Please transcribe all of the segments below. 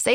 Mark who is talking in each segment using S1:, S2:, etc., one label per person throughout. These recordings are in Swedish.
S1: Say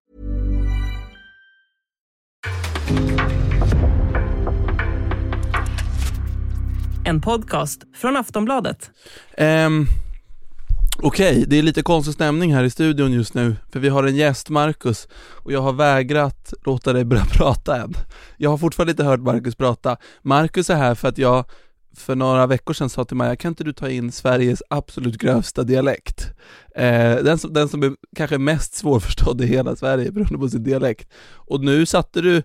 S2: En podcast från Aftonbladet.
S3: Ehm, Okej, det är lite konstig stämning här i studion just nu, för vi har en gäst, Marcus, och jag har vägrat låta dig börja prata än. Jag har fortfarande inte hört Marcus prata. Marcus är här för att jag för några veckor sedan sa till Maja, kan inte du ta in Sveriges absolut grövsta dialekt? Eh, den, som, den som är kanske mest svårförstådd i hela Sverige beroende på sin dialekt. Och nu satte du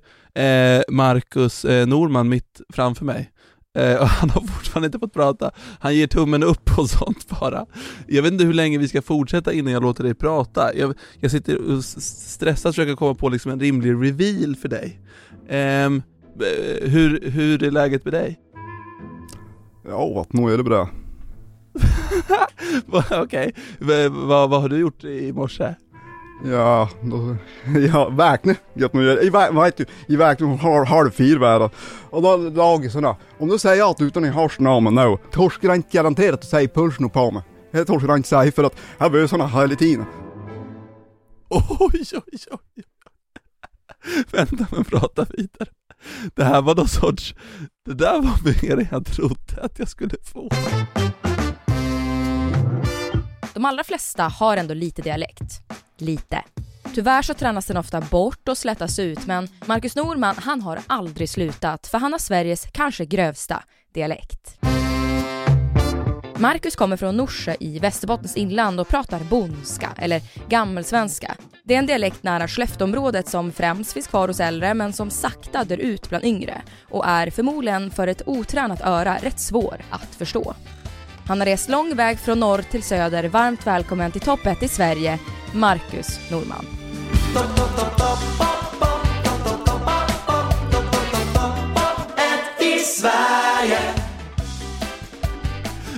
S3: eh, Marcus eh, Norman mitt framför mig. Eh, och han har fortfarande inte fått prata. Han ger tummen upp och sånt bara. Jag vet inte hur länge vi ska fortsätta innan jag låter dig prata. Jag, jag sitter och s- stressar och försöker komma på liksom en rimlig reveal för dig. Ehm, eh, hur, hur är läget med dig?
S4: Ja, nu är det bra.
S3: Va- Okej, V- vad vad har du gjort i morse?
S4: Ja, då, jag vaknade. Jag nu, jag, vä- vet du, jag vaknade halv, halv fyra var Och då lagisarna. Om du säger allt utan att ha namn nu, torskar jag inte garanterat att säga pulsen på mig. Det torskar jag inte säga för att jag behöver sådana hela tiden.
S3: Oj, oj, oj. oj. Vänta, men prata vidare. Det här var någon sorts, det där var mer än jag trodde att jag skulle få.
S5: De allra flesta har ändå lite dialekt. Lite. Tyvärr så tränas den ofta bort och slätas ut men Marcus Norman han har aldrig slutat för han har Sveriges kanske grövsta dialekt. Marcus kommer från Norsjö i Västerbottens inland och pratar bondska, eller gammelsvenska. Det är en dialekt nära Skellefteområdet som främst finns kvar hos äldre men som sakta dör ut bland yngre och är förmodligen för ett otränat öra rätt svår att förstå. Han har rest lång väg från norr till söder. Varmt välkommen till topp 1 i Sverige, Marcus Norman.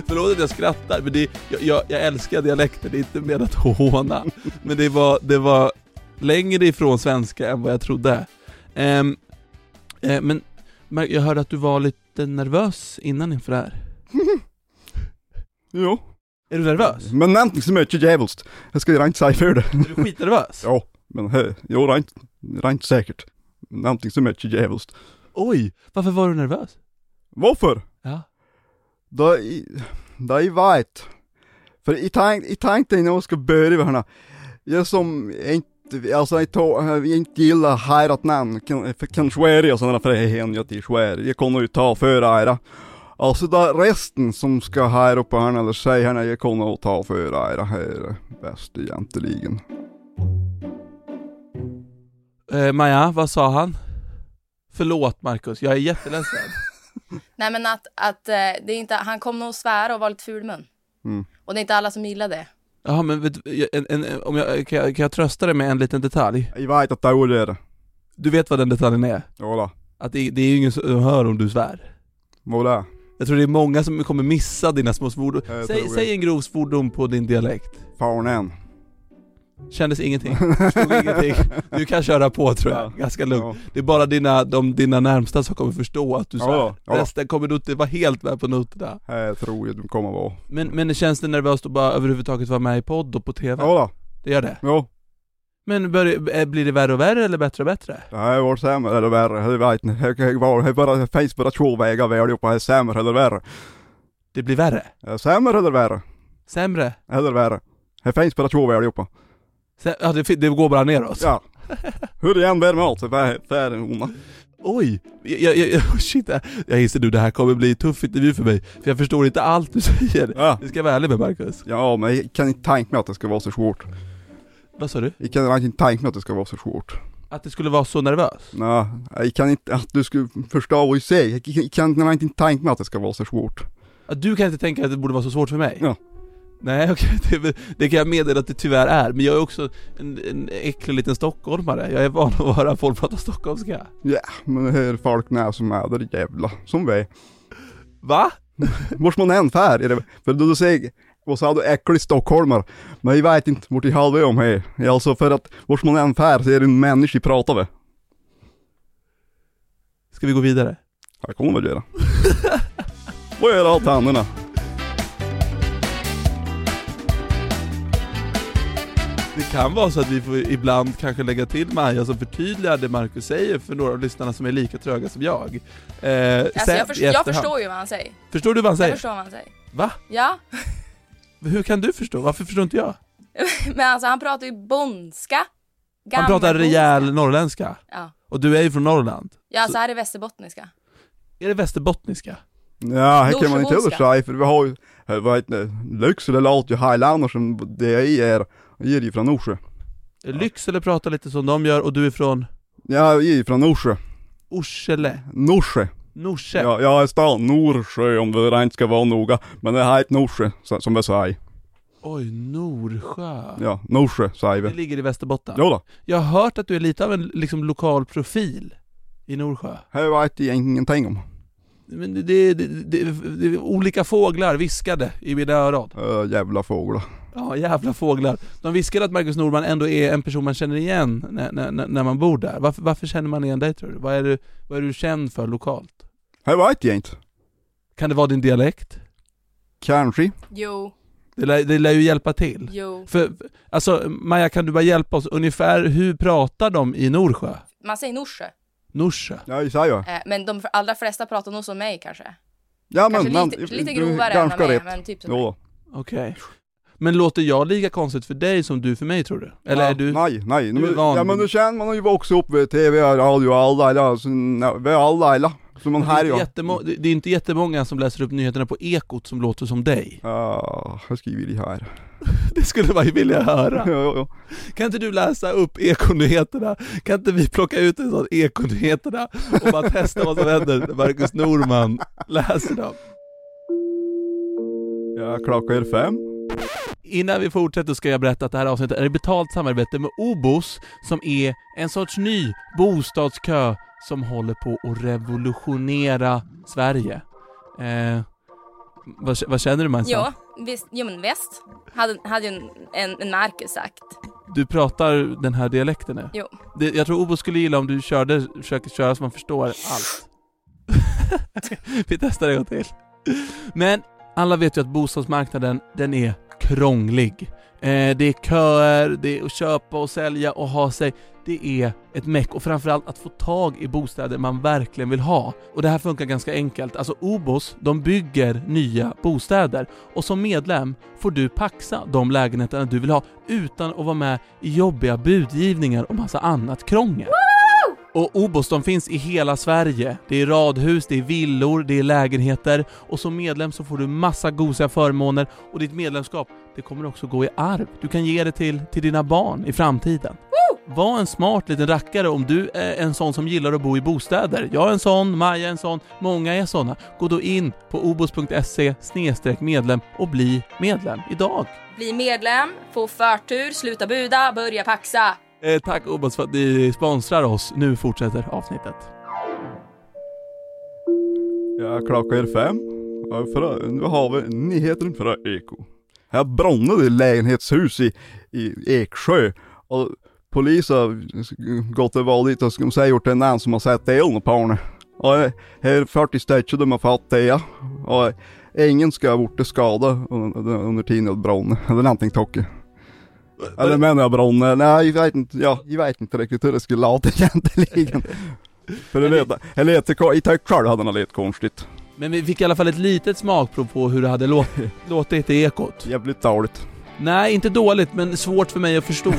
S3: Förlåt att jag skrattar, men det, jag, jag, jag älskar dialekter, det är inte menat att håna. Men det var, det var längre ifrån svenska än vad jag trodde. Ehm, eh, men Mar- jag hörde att du var lite nervös innan inför det här.
S4: Jo.
S3: Är du nervös?
S4: Men nämn så mycket djävulskt. Jag ska inte säga för det.
S3: Är du skitnervös?
S4: Ja, men he, jo, det är inte, det är inte säkert. Nämn så mycket djävulskt.
S3: Oj, varför var du nervös?
S4: Varför?
S3: Ja.
S4: Då, i- då jag vet. För jag tänkte, jag tänkte innan jag ska börja med henne. Jag som inte, alltså jag, tå, jag inte gillar härat namn, kan, för- kan svära och sådana för det är hen jag till svär. Jag kommer ju ta för ära. Alltså där resten som ska här uppe här eller säga henne, jag kommer att ta för ära här bäst egentligen.
S3: Eh, Maja, vad sa han? Förlåt Markus, jag är jätteledsen.
S5: Nej men att, att eh, det är inte, han kom nog att svära och var lite ful i mun.
S4: Mm.
S5: Och det är inte alla som gillar det.
S3: Jaha, men vet, jag- en, en, om jag, kan, jag, kan jag trösta dig med en liten detalj?
S4: Jag vet att det är det.
S3: Du vet vad den detaljen är?
S4: Jodå,
S3: Att det, det är ju ingen som hör om du svär.
S4: vad det är.
S3: Jag tror det är många som kommer missa dina små svordom.
S4: Ja, jag tror
S3: Säg,
S4: det.
S3: säg en grov svordom på din dialekt.
S4: Fan än.
S3: Kändes ingenting, förstod ingenting. Du kan köra på tror jag,
S4: Ja.
S3: ganska lugnt.
S4: Ja.
S3: Det är bara dina, de, dina närmsta som kommer förstå att du
S4: Ja,
S3: svär.
S4: ja.
S3: Resten kommer nog inte vara helt med på noterna.
S4: Här tror jag de kommer vara.
S3: Men, men känns det nervöst att bara överhuvudtaget vara med i podd och på TV?
S4: Jodå,
S3: Det gör det.
S4: jo.
S3: Men bör, eh, blir det värre och värre eller bättre och bättre?
S4: Det här var sämre eller värre, det vet ni. Jag- jag var- Det bara- det finns bara två vägar att välja på, det är sämre eller värre.
S3: Det blir värre?
S4: Det är Sämre eller värre?
S3: Sämre?
S4: Eller värre. Det finns bara två vägar på.
S3: Sä- ja, det, fi- det går bara neråt?
S4: Ja. Hur det än bär mig åt, det är det är det onda.
S3: Oj! Jag, jag, jag, shit, jag inser nu det här kommer bli en tuff intervju för mig, för jag förstår inte allt du säger.
S4: Ja.
S3: Det ska jag vara ärlig med Marcus.
S4: ja, men jag kan inte tänka mig att det ska vara så svårt.
S3: Vad sa du?
S4: Jag kan verkligen inte tänka mig att det ska vara så svårt.
S3: Att det skulle vara så nervös?
S4: Nej, jag kan inte, att du skulle förstå vad jag säger. Jag kan- Jag kan verkligen inte tänka mig att det ska vara så svårt.
S3: Att du kan inte tänka att det borde vara så svårt för mig?
S4: Ja.
S3: Nej okej, det, det kan jag meddela att det tyvärr är, men jag är också en, en äcklig liten stockholmare. Jag är van att höra folk prata stockholmska.
S4: Men det här folk när som är där jävla, som vi.
S3: Va?
S4: Vart man än fär, är det, för då du säger, och så har du äcklig stockholmare. Men jag vet inte vart jag halva om här. Alltså för att, vart man än fär så är det en människa jag pratar med.
S3: Ska vi gå vidare?
S4: Jag kommer väl göra. Vad gör allt händerna?
S3: Det kan vara så att vi får ibland kanske lägga till Maja som förtydligar det Marcus säger för några av lyssnarna som är lika tröga som jag. Eh,
S5: Alltså,
S3: sen
S5: jag,
S3: i
S5: förstår, jag
S3: efterhand.
S5: förstår ju vad han säger.
S3: Förstår du vad han
S5: Jag
S3: säger?
S5: förstår vad han säger.
S3: Va?
S5: Ja,
S3: Hur kan du förstå? Varför förstår inte jag?
S5: men alltså han pratar ju bondska.
S3: Han pratar
S5: Gammelbondska.
S3: rejäl norrländska.
S5: Ja,
S3: Och du är ju från Norrland.
S5: ja så här är västerbottniska.
S3: Är det västerbottniska?
S4: Ja, här kan man inte
S5: Norsebonska.
S4: översäga för vi har ju, jag vet inte, Lycksele låter ju highlanders som det jag är. Jag är ju från Norsjö.
S3: Lycksele pratar lite som de gör och du är från
S4: Ja, jag är ju från Norsjö.
S3: Orsele?
S4: Norsjö.
S3: Norsjö?
S4: Ja, jag är stan Norsjö om det rent ska vara noga. Men det här är ett Norsjö, så- som vi säger.
S3: Oj, Norsjö?
S4: Ja, Norsjö säger
S3: Det
S4: vi.
S3: ligger i Västerbotten?
S4: Jo då.
S3: Jag har hört att du är lite av en liksom, lokal profil i Norsjö.
S4: Jag vet jag ingenting om.
S3: Men det, det, det, det, det, olika fåglar viskade i mina öron.
S4: Äh, jävla fåglar.
S3: Ja, jävla fåglar. De viskade att Marcus Norman ändå är en person man känner igen när, när, när- när man bor där. Varför, varför känner man igen dig tror du? Vad är du, vad är du känd för lokalt?
S4: Jag vet jag inte.
S3: Kan det vara din dialekt?
S4: Kanske.
S5: Jo,
S3: Det lär, det lär ju hjälpa till.
S5: jo.
S3: För, alltså Maja, kan du bara hjälpa oss? Ungefär hur pratar de i Norsjö?
S5: Man säger Norsjö.
S3: Norsjö?
S4: Ja, jag säger.
S5: Eh, Men de allra flesta pratar nog som mig kanske.
S4: Ja,
S5: Kanske
S4: men, men,
S5: lite, lite
S4: du är
S5: grovare än
S4: ganska
S5: vad mig,
S4: rätt.
S5: men typ som
S4: Jo
S5: mig.
S4: då.
S3: Okej. Men låter jag lika konstigt för dig som du för mig tror du? Eller
S4: ja,
S3: är du...
S4: Nej, nej.
S3: du är
S4: men,
S3: van.
S4: ja, men nu känner man har ju vuxit upp vid tv, radio, alla, alla, så, nej, vi är alla, alla. Så man
S3: Det är,
S4: här ju.
S3: inte jättemo- det- det är inte jättemånga som läser upp nyheterna på Ekot som låter som dig.
S4: Ja, jag skriver det här.
S3: Det skulle man ju vilja höra.
S4: Ja, ja, ja.
S3: Kan inte du läsa upp ekonyheterna? Kan inte vi plocka ut en sån ekonyheterna och bara testa vad som händer när Marcus Norman läser dem?
S4: Ja, klockan är fem.
S3: Innan vi fortsätter ska jag berätta att det här avsnittet är i betalt samarbete med Obos som är en sorts ny bostadskö som håller på att revolutionera Sverige. Eh, vad, vad känner du Majsan?
S5: Jo, visst, jo men väst. Hade, hade ju en, en, en Marcus sagt.
S3: Du pratar den här dialekten nu?
S5: Jo.
S3: Det, jag tror Obo skulle gilla om du körde, försöker köra så man förstår allt. Vi testar en gång till. Men alla vet ju att bostadsmarknaden, den är krånglig. Eh, det är köer, det är att köpa och sälja och ha sig. Det är ett meck och framförallt att få tag i bostäder man verkligen vill ha. Och det här funkar ganska enkelt. Alltså Obos, de bygger nya bostäder och som medlem får du paxa de lägenheterna du vill ha utan att vara med i jobbiga budgivningar och massa annat krångel. Och Obos de finns i hela Sverige. Det är radhus, det är villor, det är lägenheter och som medlem så får du massa gosiga förmåner och ditt medlemskap det kommer också gå i arv. Du kan ge det till, till dina barn i framtiden. Var en smart liten rackare om du är en sån som gillar att bo i bostäder. Jag är en sån, Maja är en sån, många är såna. Gå då in på obos.se medlem och bli medlem idag.
S5: Bli medlem, få förtur, sluta buda, börja paxa.
S3: Eh, tack Obos för att ni sponsrar oss. Nu fortsätter avsnittet.
S4: Ja, klockan är fem. Ja, för, nu har vi nyheten från Eko. Här brann det lägenhetshus i, i Eksjö. Och polisen har gått och varit dit och ska säga gjort en annan som har sett elden på henne. Och här är 40 stycken de har fått det. Och ingen ska ha varit skadad under, under tiden det brann. Eller någonting tokigt. Eller menar jag brann? Nej, jag vet inte, ja, jag vet inte riktigt hur det skulle låta egentligen. För det lät, det lät, jag tyckte själv hade det lät konstigt.
S3: Men vi fick i alla fall ett litet smakprov på hur det hade låt- låtit i ekot.
S4: Jävligt dåligt.
S3: Nej, inte dåligt, men svårt för mig att förstå.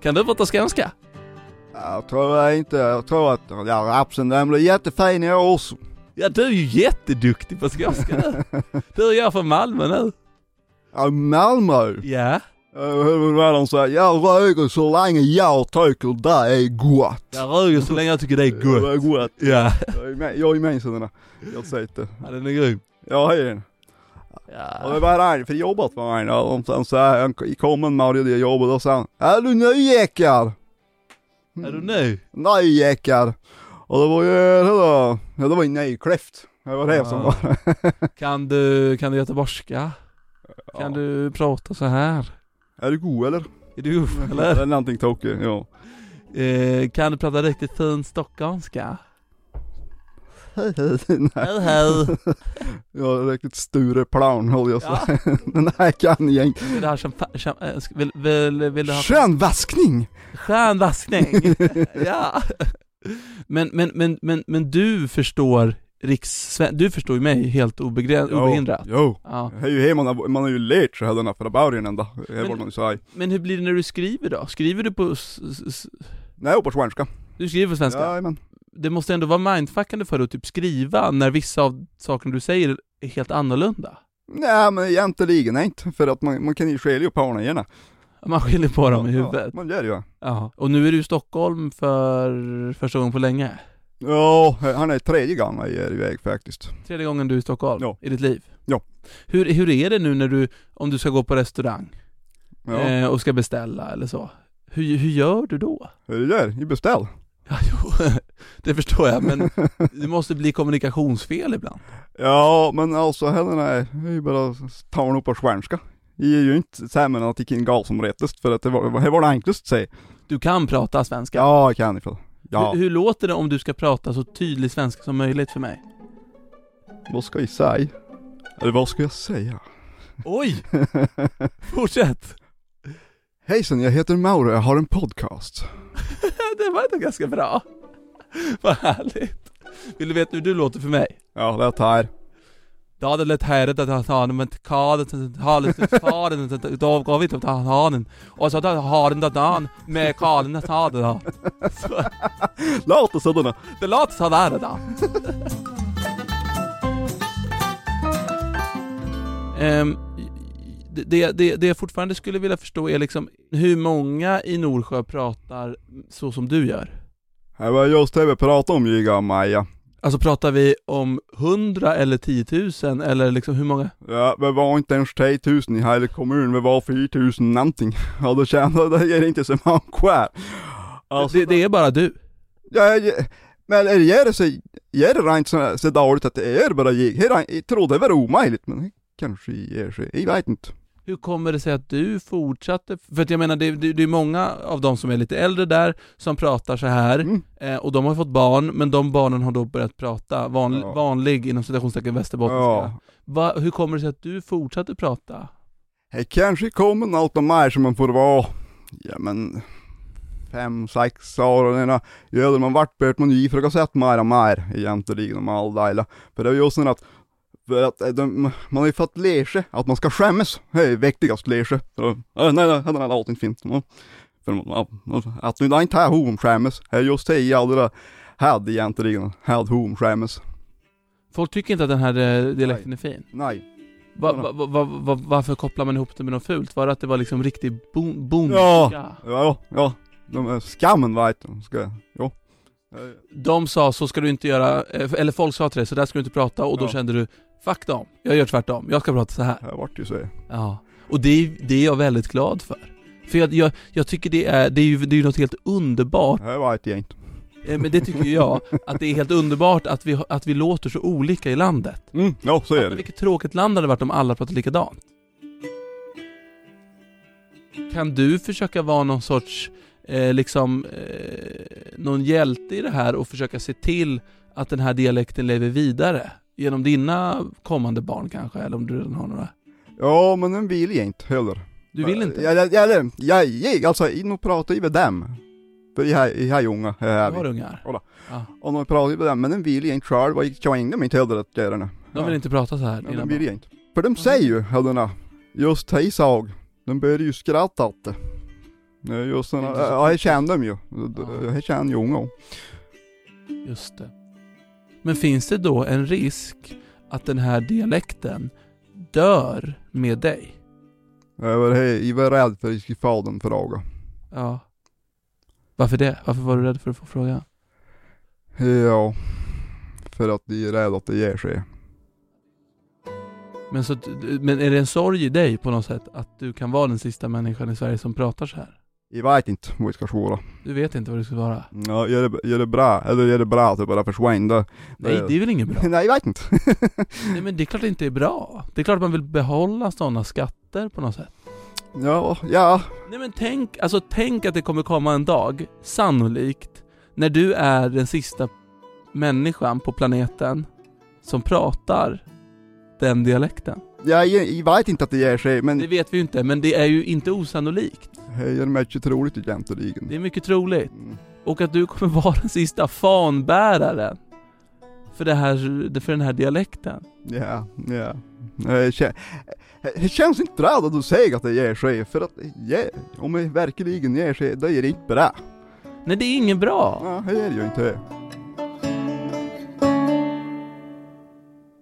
S3: kan du prata skånska?
S4: Jag tror inte, jag tror att, ja rapsen den blir jättefin i år också.
S3: Ja du är ju jätteduktig på skånska du. Du är jag från Malmö nu.
S4: Ja, Malmö.
S3: Ja.
S4: Huvudmannen säger, jag röker så länge jag tycker det är gott.
S3: Jag röker så länge jag tycker det är
S4: Det
S3: gott.
S4: är gott.
S3: Ja.
S4: Jag är med- Jag är med i sådana. Jag säger inte.
S3: ja den är grym.
S4: Jag är en. Och
S3: Ja.
S4: det var han, för jag jobbat med han. Och sen så här, han kom en morgon där jag jobbade och sa han, Är du nyäckad?
S3: Är du nöjd?
S4: Nyäckad. Och det var ju, hela, ja det var ju nykläft. Det var det som
S3: Ja.
S4: var.
S3: Kan du, kan du göteborgska?
S4: Ja.
S3: Kan du prata så här?
S4: Är du god eller?
S3: Är du uff,
S4: Det
S3: eller?
S4: är någonting tokigt, ja.
S3: Eh, kan du prata riktigt fin stockholmska?
S4: Nej.
S3: Hej hej!
S4: Jag är riktigt Stureplan höll jag så.
S3: Ja.
S4: Den här kan jag inte.
S3: Vill du ha champa- cham- eh, sk- vill, vill, vill du ha
S4: Skönvaskning!
S3: skön vaskning? ja! Men, men, men, men, men du förstår riks... Du förstår ju mig helt obegräns- obehindrat.
S4: Jo.
S3: Ja.
S4: Det är ju här man har, man har ju lärt sig denna från början ända. Det
S3: Men-
S4: var man ju säger.
S3: Men hur blir det när du skriver då? Skriver du på... s- s- s-
S4: Nej, på svenska.
S3: Du skriver på svenska?
S4: Jajamän.
S3: Det måste ändå vara mindfuckande för dig att typ skriva när vissa av sakerna du säger är helt annorlunda?
S4: Nej men egentligen inte, för att man, man kan ju skilja på honom gärna.
S3: Man skiljer på dem i huvudet.
S4: Ja, man gör ju det.
S3: Ja. Och nu är du i Stockholm för första gången på länge?
S4: Ja, han är tredje gången jag är iväg faktiskt.
S3: Tredje gången du är i Stockholm
S4: Ja.
S3: i ditt liv?
S4: Ja.
S3: Hur, hur är det nu när du, om du ska gå på restaurang
S4: Ja,
S3: eh, och ska beställa eller så? Hur, hur gör du då?
S4: hur gör du? Beställ.
S3: Ja, jo, det förstår jag, men det måste bli kommunikationsfel ibland.
S4: Ja, men alltså Helena är är ju bara tar upp på svenska. Det är ju inte sämre än att jag kan gå som rättest, för att det var det, var det enklaste att säga.
S3: Du kan prata svenska.
S4: Ja, jag kan ifall. Ja,
S3: Hur, hur låter det om du ska prata så tydlig svenska som möjligt för mig?
S4: vad ska jag säga? Eller vad ska jag säga?
S3: Oj! Fortsätt!
S4: Hejsan, jag heter Mauro, jag har en podcast.
S3: det var ändå ganska bra. Vad härligt. Vill du veta hur du låter för mig?
S4: Ja, det här.
S3: Ja, det lät härligt att han har men kadet har lite faren, då gav vi inte att han har den. Och så har den dagen med kalen att ha det då. Så,
S4: Låter sådana.
S3: Det låter sådär det då. Ehm, det- det, det, det jag fortfarande skulle vilja förstå är liksom hur många i Norsjö pratar så som du gör?
S4: Det var just det vi pratade om, Giga och Maja.
S3: Alltså pratar vi om 100 eller 10 000 eller liksom hur många?
S4: Ja, vi var inte ens 3000 i hela kommunen, vi var 4000 någonting. Ja, då kände jag, det är inte så många kvar. Alltså,
S3: det, det är bara du.
S4: Ja, ja, men är det- är det så, är det rent så, så dåligt att det är bara jag? Är det- Jag trodde det var omöjligt, men det kanske är så. Jag vet inte.
S3: Hur kommer det sig att du fortsatte? För att jag menar, det, det, det är många av de som är lite äldre där som pratar så här
S4: Mm.
S3: eh, och de har fått barn, men de barnen har då börjat prata van,
S4: Ja.
S3: vanlig inom citationstecken västerbottniska.
S4: Ja.
S3: Va, hur kommer det sig att du fortsatte prata?
S4: Det kanske kommer allt om mig som man får vara, ja men, fem, sex år och ena. Ja, då man vart bort man ju försöka sätta mer och mer egentligen om all delar. För det är ju sån att, för att eh, de, man har ju fått lära sig att man ska skämmas. Det är viktigast lära sig. För, att, äh, nej, nej, den här låten finns inte. För man- att nu inte har hon skämmas. Det är just det jag aldrig hade egentligen. Hade hon skämmas.
S3: Folk tycker inte att den här eh, dialekten är fin.
S4: Nej.
S3: Va, va, va, va, va, varför kopplar man ihop det med något fult? Var det att det var liksom riktig bon, bondska?
S4: Ja. Ja, ja. De är skammen vet du. Ska, Eh, ja.
S3: De sa så ska du inte göra, eh, eller folk sa till dig så där ska du inte prata och då
S4: Ja.
S3: kände du Fuck dem, jag gör tvärtom, jag ska prata så här.
S4: Det vart ju så.
S3: Ja. Och det, är- det är jag väldigt glad för. För jag, jag, jag tycker det är, det är ju det är ju något helt underbart,
S4: Det vet jag inte.
S3: eh, men det tycker ju jag, att det är helt underbart att vi, har- att vi låter så olika i landet.
S4: Mm. Ja, så är
S3: Men
S4: det.
S3: vilket tråkigt land hade det varit om alla pratade likadant. Kan du försöka vara någon sorts, eh, liksom, eh, någon hjälte i det här och försöka se till att den här dialekten lever vidare? Genom dina kommande barn kanske, eller om du redan har några?
S4: Ja, men den vill jag inte heller.
S3: Du vill inte?
S4: Jag, jag, jag, jag, jag alltså, nu pratar jag med dem. För jag har- jag har unga, här
S3: Du
S4: är
S3: har
S4: vi.
S3: ungar?
S4: Kolla.
S3: Ja.
S4: Och nu pratar jag med dem, men den vill jag inte själv och jag tvingar dem inte heller att göra det.
S3: De vill
S4: Ja.
S3: inte prata så här?
S4: Nej,
S3: dina
S4: den
S3: barn.
S4: vill jag inte. För de säger ju, herrarna, just hej sag, de börjar ju skratta åt det. Nej, just den,
S3: Det är inte så
S4: ja, jag kände dem ju.
S3: Ja.
S4: Jag kände ju unga.
S3: Just det. Men finns det då en risk att den här dialekten dör med dig?
S4: Jag var, he- jag var rädd för att jag skulle få den frågan.
S3: Ja. Varför det? Varför var du rädd för att få frågan?
S4: Ja, för att jag är rädd att det ger sig.
S3: Men, så, att- men är det en sorg i dig på något sätt att du kan vara den sista människan i Sverige som pratar så här?
S4: Jag vet inte vad jag ska svara.
S3: Du vet inte vad du ska vara?
S4: Ja, gör det, gör det bra, eller gör det bra att det bara försvann. Det-
S3: Nej, det är väl inget bra?
S4: Nej, jag vet inte.
S3: Nej men det är klart det inte är bra. Det är klart man vill behålla sådana skatter på något sätt.
S4: ja, ja,
S3: Nej men tänk, alltså tänk att det kommer komma en dag, sannolikt, när du är den sista människan på planeten som pratar den dialekten.
S4: jag, jag vet inte att det ger sig, men
S3: Det vet vi ju inte, men det är ju inte osannolikt.
S4: det är mycket troligt egentligen.
S3: Det är mycket troligt.
S4: Mm.
S3: Och att du kommer vara den sista fanbäraren för, det här, för den här dialekten.
S4: Ja, ja. Jag kän- Det känns inte bra att du säger att det ger sig, för att ja, om det verkligen ger sig, då är det inte bra.
S3: Nej det är inget bra.
S4: Ja, det är det ju inte det.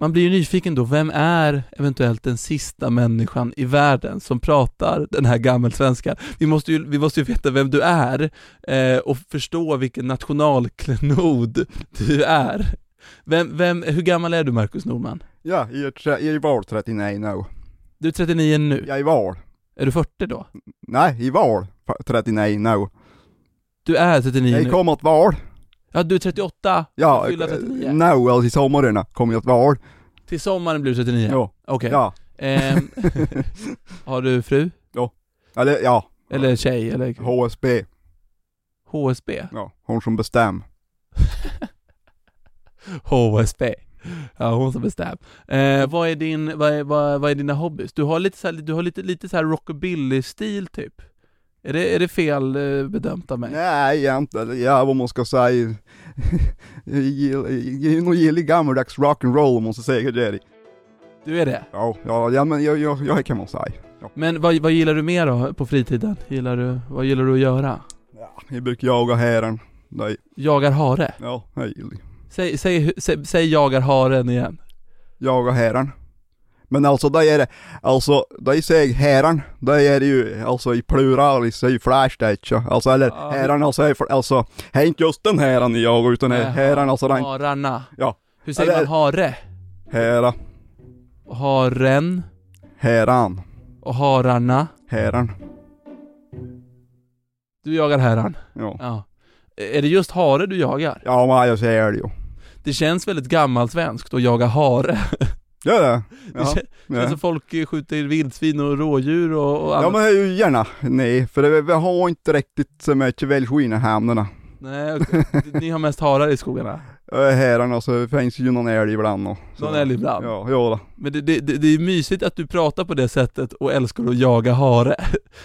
S3: Man blir ju nyfiken då, vem är eventuellt den sista människan i världen som pratar den här gammelsvenskan? Vi måste ju, vi måste ju veta vem du är eh, och förstå vilken nationalklenod du är. Vem, vem, hur gammal är du Marcus Norman?
S4: Ja, jag är tre- jag är i val 39 nu.
S3: Du är 39 nu,
S4: Jag är i val.
S3: är du 40 då?
S4: Nej, i val fa- 39 nu.
S3: Du är 39
S4: Jag
S3: nu?
S4: kommer att val.
S3: Ja du är 38,
S4: Ja,
S3: Fylla
S4: eh,
S3: 39.
S4: nu alltså i sommaren kommer jag att val.
S3: till sommaren blir du 39?
S4: Ja.
S3: Okej.
S4: Ja.
S3: Ehm, har du fru?
S4: Eller ja,
S3: Eller tjej? Eller
S4: HSB.
S3: HSB?
S4: Ja, hon som bestämmer.
S3: HSB. Ja, hon som bestämmer. Eh, vad, är din, vad, är, vad, vad är dina hobbys? Du har lite så här, du har lite, lite så här rockabilly-stil typ. Är det, är det fel eh, bedömt av mig?
S4: Nej, egentligen, ja vad man ska säga. jag gillar- jag gillar gammaldags rock'n'roll om man ska säga det.
S3: Du är det?
S4: Ja, ja, ja men jag, jag, jag kan man säga. Ja.
S3: Men vad, vad gillar du mer då på fritiden? Gillar du, vad gillar du att göra?
S4: Ja, jag brukar jaga hären. Nej,
S3: Jagar hare?
S4: ja, jag gillar.
S3: Säg, säg, säg, säg jagar haren igen.
S4: Jaga hären. Men alltså där är det, alltså där säger hären, där är det ju alltså i plural, i sig flash det inte. Alltså eller
S3: Ja.
S4: hären alltså, är för- alltså, det är inte just den hären jag jagar utan det är
S3: Jaha.
S4: hären alltså den,
S3: Hararna.
S4: Ja.
S3: Hur säger
S4: Eller-
S3: man hare?
S4: hära,
S3: Haren
S4: häran,
S3: och hararna.
S4: hären.
S3: Du jagar häran.
S4: Ja,
S3: Ja. Är det just hare du jagar?
S4: ja men jag säger det ju.
S3: Det känns väldigt gammalsvenskt att jaga hare.
S4: Gör det?
S3: Det kän-
S4: Ja,
S3: känns
S4: ja.
S3: som folk eh, skjuter vildsvin och rådjur och, och
S4: ja
S3: annat.
S4: men det är ju gärna, nej, för det, vi har inte riktigt så mycket välskinn i hamnarna.
S3: Nej, okej. ni har mest harar i skogarna.
S4: Ja, Häran alltså, det finns ju någon älg ibland och så.
S3: Någon älg ibland.
S4: Ja, ja då.
S3: Men det, det, det det är mysigt att du pratar på det sättet och älskar att jaga hare.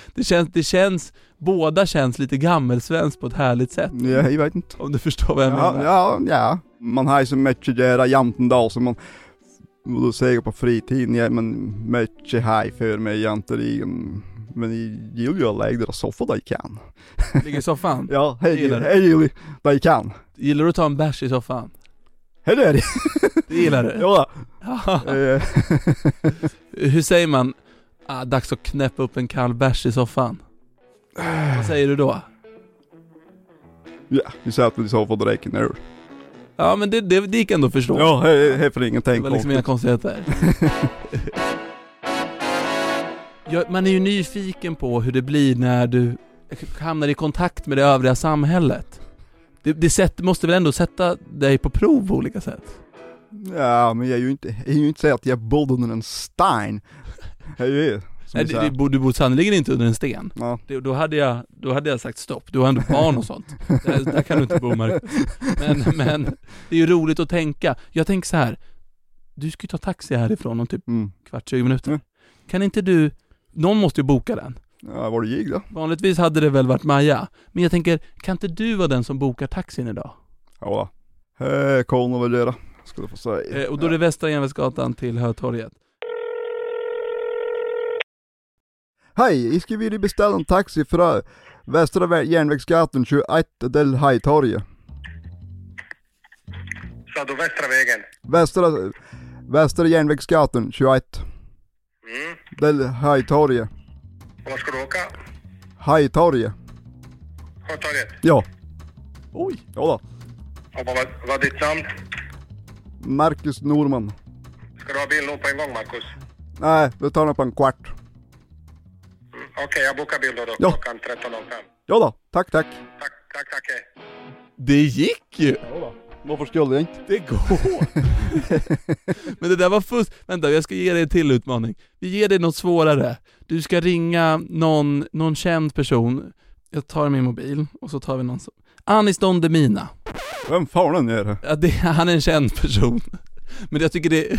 S3: Det känns, det känns, båda känns lite gammelsvenskt på ett härligt sätt.
S4: Ja, jag vet inte.
S3: Om du förstår vad jag
S4: Ja,
S3: menar.
S4: ja, ja. Man har ju så mycket att göra jämt en dag som man och då säger jag på fritiden, ja, men mycket haj för mig egentligen. Men jag gillar ju att lägga deras soffa där jag kan.
S3: Ligger i soffan.
S4: Ja, hej
S3: Gillar det.
S4: hej Gilly, där jag kan.
S3: Gillar du att ta en bärs i soffan?
S4: Hej där!
S3: Det gillar du?
S4: Ja, eh,
S3: Hur säger man, ah, dags att knäppa upp en kall bärs i soffan?
S4: Äh.
S3: Vad säger du då?
S4: ja, vi satt väl i soffan och drack en öl.
S3: Ja men det, det, det gick ändå att förstå.
S4: Ja, hej, hej för
S3: Det
S4: ingenting
S3: var liksom inga konstigheter. Ja, man är ju nyfiken på hur det blir när du hamnar i kontakt med det övriga samhället. Det, det sätt, måste väl ändå sätta dig på prov på olika sätt?
S4: Ja, men jag är ju inte, jag är ju inte så att jag bodde under en stein. Jag är ju, som
S3: Nej,
S4: jag
S3: det,
S4: sa.
S3: det, bo- du bor sannerligen inte under en sten.
S4: Ja.
S3: Det, då, hade jag, då hade jag sagt stopp, du har ändå barn och sånt. Där, där kan du inte bo Marcus. Men, men det är ju roligt att tänka. Jag tänker så här. du ska ju ta taxi härifrån om typ
S4: Mm.
S3: kvart, 20 minuter.
S4: Mm.
S3: Kan inte du, någon måste ju boka den.
S4: Ja, var det gig då?
S3: Vanligtvis hade det väl varit Maja, men jag tänker, kan inte du vara den som bokar taxin idag?
S4: Ja. Eh, Hej, kommer väl göra, skulle jag få säga.
S3: Eh, och då är det Västra Järnvägsgatan till Hötorget.
S4: Hej, jag skulle vilja beställa en taxi från, Västra vä- järnvägsgatan 21 del Hajtorget.
S6: Sa du Västra vägen?
S4: Västra, västra järnvägsgatan 21
S6: Mm.
S4: del Hajtorget.
S6: Och var ska du åka?
S4: Hajtorget.
S6: Sjötorget.
S4: Ja.
S3: Oj!
S4: Jodå.
S6: Och vad var- var ditt namn?
S4: Marcus Norman.
S6: Ska du ha bil nu på en gång, Marcus?
S4: Nej, det tar nog på en kvart.
S6: Mm. Okej, jag bokar bil då, då
S4: Ja.
S6: klockan 13.05.
S4: Jodå. Tack, tack.
S6: Tack, tack, tack. Hej.
S3: Det gick ju!
S4: Varför skulle jag inte?
S3: Det går! Men det där var fusk. Vänta, jag ska ge dig en till utmaning. Vi ger dig något svårare. Du ska ringa någon, någon känd person. Jag tar min mobil och så tar vi någon som... Anis Don Demina.
S4: Vem fan är det?
S3: Ja, det, han är en känd person. Men jag tycker det,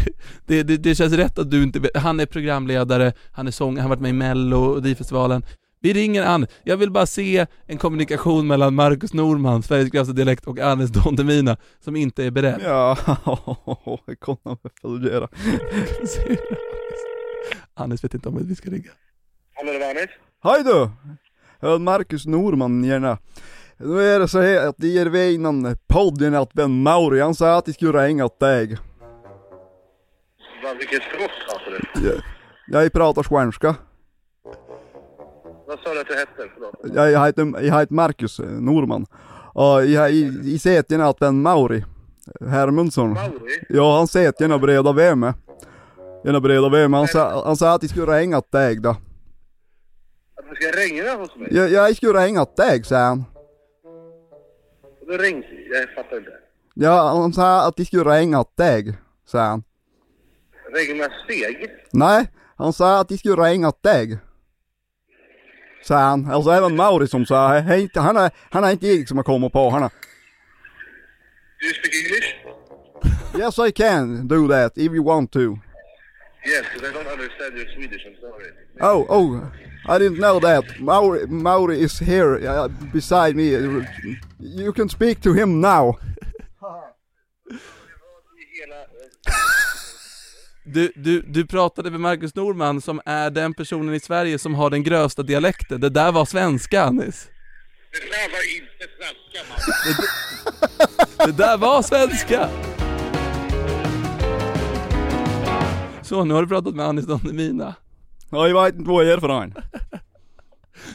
S3: det, det, det känns rätt att du inte vet. Han är programledare, han är sångare, han har varit med i mello och Melodifestivalen. Vi ringer Ann. Jag vill bara se en kommunikation mellan Marcus Norman, Sveriges grövsta dialekt, och Anis Don Demina, som inte är beredd.
S4: Ja, jag kommer att följa
S3: säger Anis. Anis vet inte om att vi ska ringa.
S6: Hallå, det var Anis.
S4: Hej du! Jag är Marcus Norman gärna. Nu är det så här att det är vi innan podden att Ben Mauri han sa att det skulle ringa åt dig.
S6: Vad- Vilket språk sa du?
S4: Jag pratar svenska.
S6: Vad sa du att du hette? Förlåt.
S4: Jag heter, jag heter Marcus eh, Norman. Och jag i säten att Ben Mauri Hermundsson.
S6: Mauri?
S4: Ja, han sät gärna breda vem med. Gärna breda vem med. Han sa, han sa att det skulle ringa åt dig då.
S6: Att du ska ringa hos mig?
S4: Jag, jag skulle ringa åt dig, sa han.
S6: Du ringde? Jag fattar inte.
S4: Ja, han sa att det skulle ringa åt dig, sa han.
S6: Regna steg?
S4: Nej, han sa att de skulle ringa åt dig. Sa han. Alltså även Mauri som sa, hej, han är, han är inte jag som har kommit på honom.
S6: Do you speak English?
S4: Yes I can do that if you want to.
S6: Yes, because I don't understand your Swedish. I'm sorry.
S4: Oh, oh, I didn't know that. Mauri, Mauri is here uh, beside me. You can speak to him now.
S6: Hela, eh,
S3: Du, du, du pratade med Marcus Norman som är den personen i Sverige som har den grövsta dialekten. Det där var svenska Anis.
S6: Det där var inte svenska, Mauri.
S3: Det där var svenska! Så, nu har du pratat med Anis Don Demina.
S4: Ja, jag vet inte vad jag är för någon.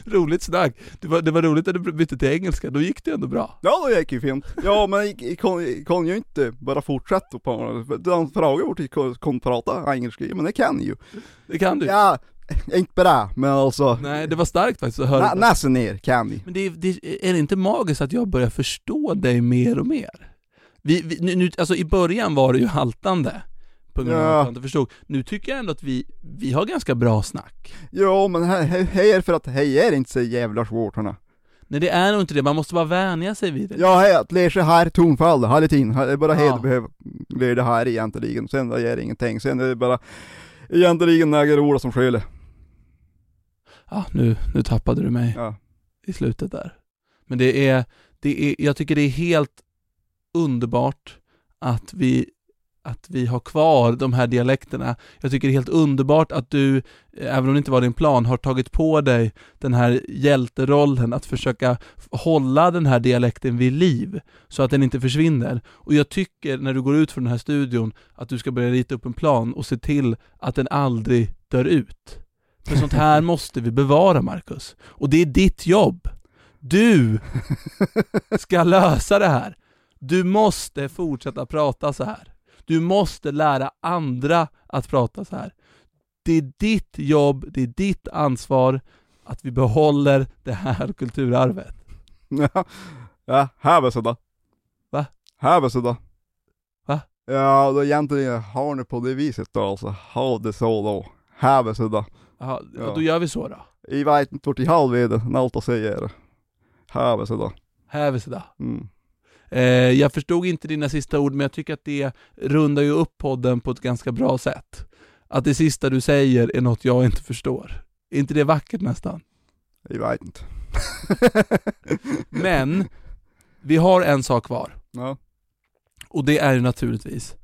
S3: Roligt snack. Det var, det var roligt att du bytte till engelska, då gick det ändå bra.
S4: Ja, det gick ju fint. Ja, men jag- jag kan- jag kan ju inte bara fortsätta på honom. Han frågade vart jag kan- kan prata engelska, men det kan jag ju.
S3: Det kan du.
S4: Ja, inte bra, men alltså.
S3: Nej, det var starkt faktiskt att höra.
S4: Nä, näsen ner kan ni.
S3: Men det, är- det, är det inte magiskt att jag börjar förstå dig mer och mer? Vi, vi, nu, nu, alltså i början var det ju haltande, på grund av
S4: Ja.
S3: att jag inte förstod. Nu tycker jag ändå att vi, vi har ganska bra snack.
S4: Jo men här, här- här är för att här är inte så jävla svårt hörna.
S3: Nej det är nog inte det, man måste bara vänja sig vid det.
S4: Ja här, att lära sig här tonfall, hela tiden. Det är bara här
S3: Ja.
S4: du behöver lära dig här egentligen. Sen är det ingenting. Sen är det bara egentligen några ord som skiljer.
S3: Ja, nu, nu tappade du mig
S4: Ja.
S3: i slutet där. Men det är, det är, jag tycker det är helt underbart att vi, att vi har kvar de här dialekterna. Jag tycker det är helt underbart att du, eh, även om det inte var din plan, har tagit på dig den här hjälterollen att försöka f- hålla den här dialekten vid liv så att den inte försvinner. Och jag tycker när du går ut från den här studion att du ska börja rita upp en plan och se till att den aldrig dör ut. För sånt här måste vi bevara Marcus. Och det är ditt jobb. Du ska lösa det här. Du måste fortsätta prata så här. Du måste lära andra att prata så här. Det är ditt jobb, det är ditt ansvar att vi behåller det här kulturarvet.
S4: Ja, ja här var sådär.
S3: Va?
S4: Här var sådär.
S3: Va?
S4: Ja, då egentligen har ni på det viset då alltså. Ha det så då. Här var sådär.
S3: Jaha,
S4: Ja.
S3: Då gör vi så då.
S4: Jag vet inte vart i halv är det, när allt jag säger det. Här var sådär.
S3: Här är vi sådär.
S4: Mm.
S3: Eh, jag förstod inte dina sista ord, men jag tycker att det rundar ju upp podden på ett ganska bra sätt. Att det sista du säger är något jag inte förstår. Är inte det vackert nästan?
S4: Jag vet inte.
S3: Men, vi har en sak kvar.
S4: Ja.
S3: Och det är ju naturligtvis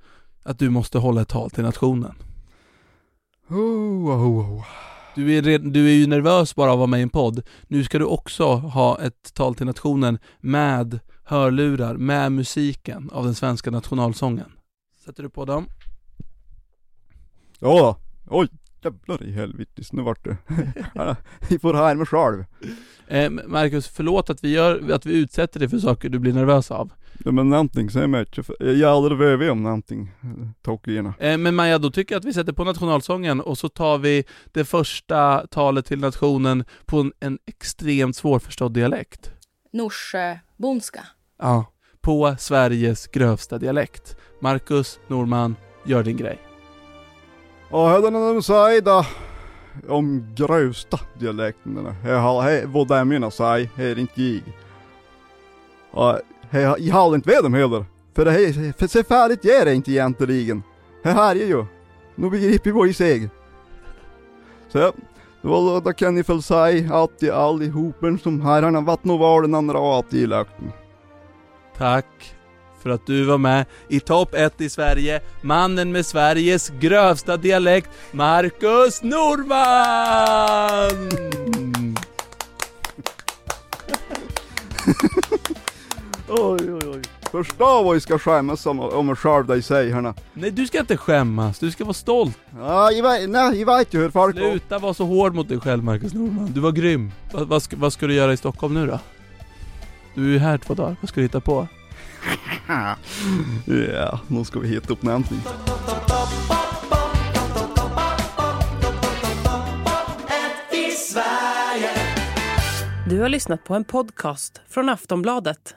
S3: att du måste hålla ett tal till nationen.
S4: Oh, oh, oh.
S3: Du är, red, du är ju nervös bara av att vara med i en podd. Nu ska du också ha ett tal till nationen med hörlurar, med musiken av den svenska nationalsången. Sätter du på dem?
S4: Ja då. Oj, jävlar i helvetes, nu vart det. Vi får här med själv.
S3: Eh, Marcus, förlåt att vi, gör, att vi utsätter dig för saker du blir nervös av.
S4: Ja, men någonting säger mig inte, för jag har aldrig varit med om någonting eh, tokigare.
S3: Eh, men Maja, då tycker jag att vi sätter på nationalsången och så tar vi det första talet till nationen på en, en extremt svårförstådd dialekt.
S5: Norsebonska.
S3: Ja. På Sveriges grövsta dialekt. Marcus Norman, gör din grej.
S4: Ja, här är det de säger då. Om grövsta dialekterna. Jag har, här, vad de menar säger, här är inte jag. Ja, här- jag har inte med dem heller. För det här, för så färdigt är det inte egentligen. Det här är ju. Nu begriper jag vad jag säger. Så, då, då kan ni väl säga att de allihopen som herrarna varit och var den andra och att de lökten.
S3: Tack för att du var med i topp 1 i Sverige, mannen med Sveriges grövsta dialekt, Marcus Norman!
S4: Oj, oj, oj. Förstå vad jag ska skämmas om, om mig själv, de säger herrna.
S3: Nej, du ska inte skämmas, du ska vara stolt.
S4: Ja, jag vet, nej, jag vet ju hur folk...
S3: Sluta vara så hård mot dig själv, Marcus Norman. Du var grym. Vad, vad, ska, vad ska du göra i Stockholm nu då? Du är ju här två dagar, vad ska du hitta på?
S4: Ja, nu ska vi hitta upp någonting.
S2: Du har lyssnat på en podcast från Aftonbladet.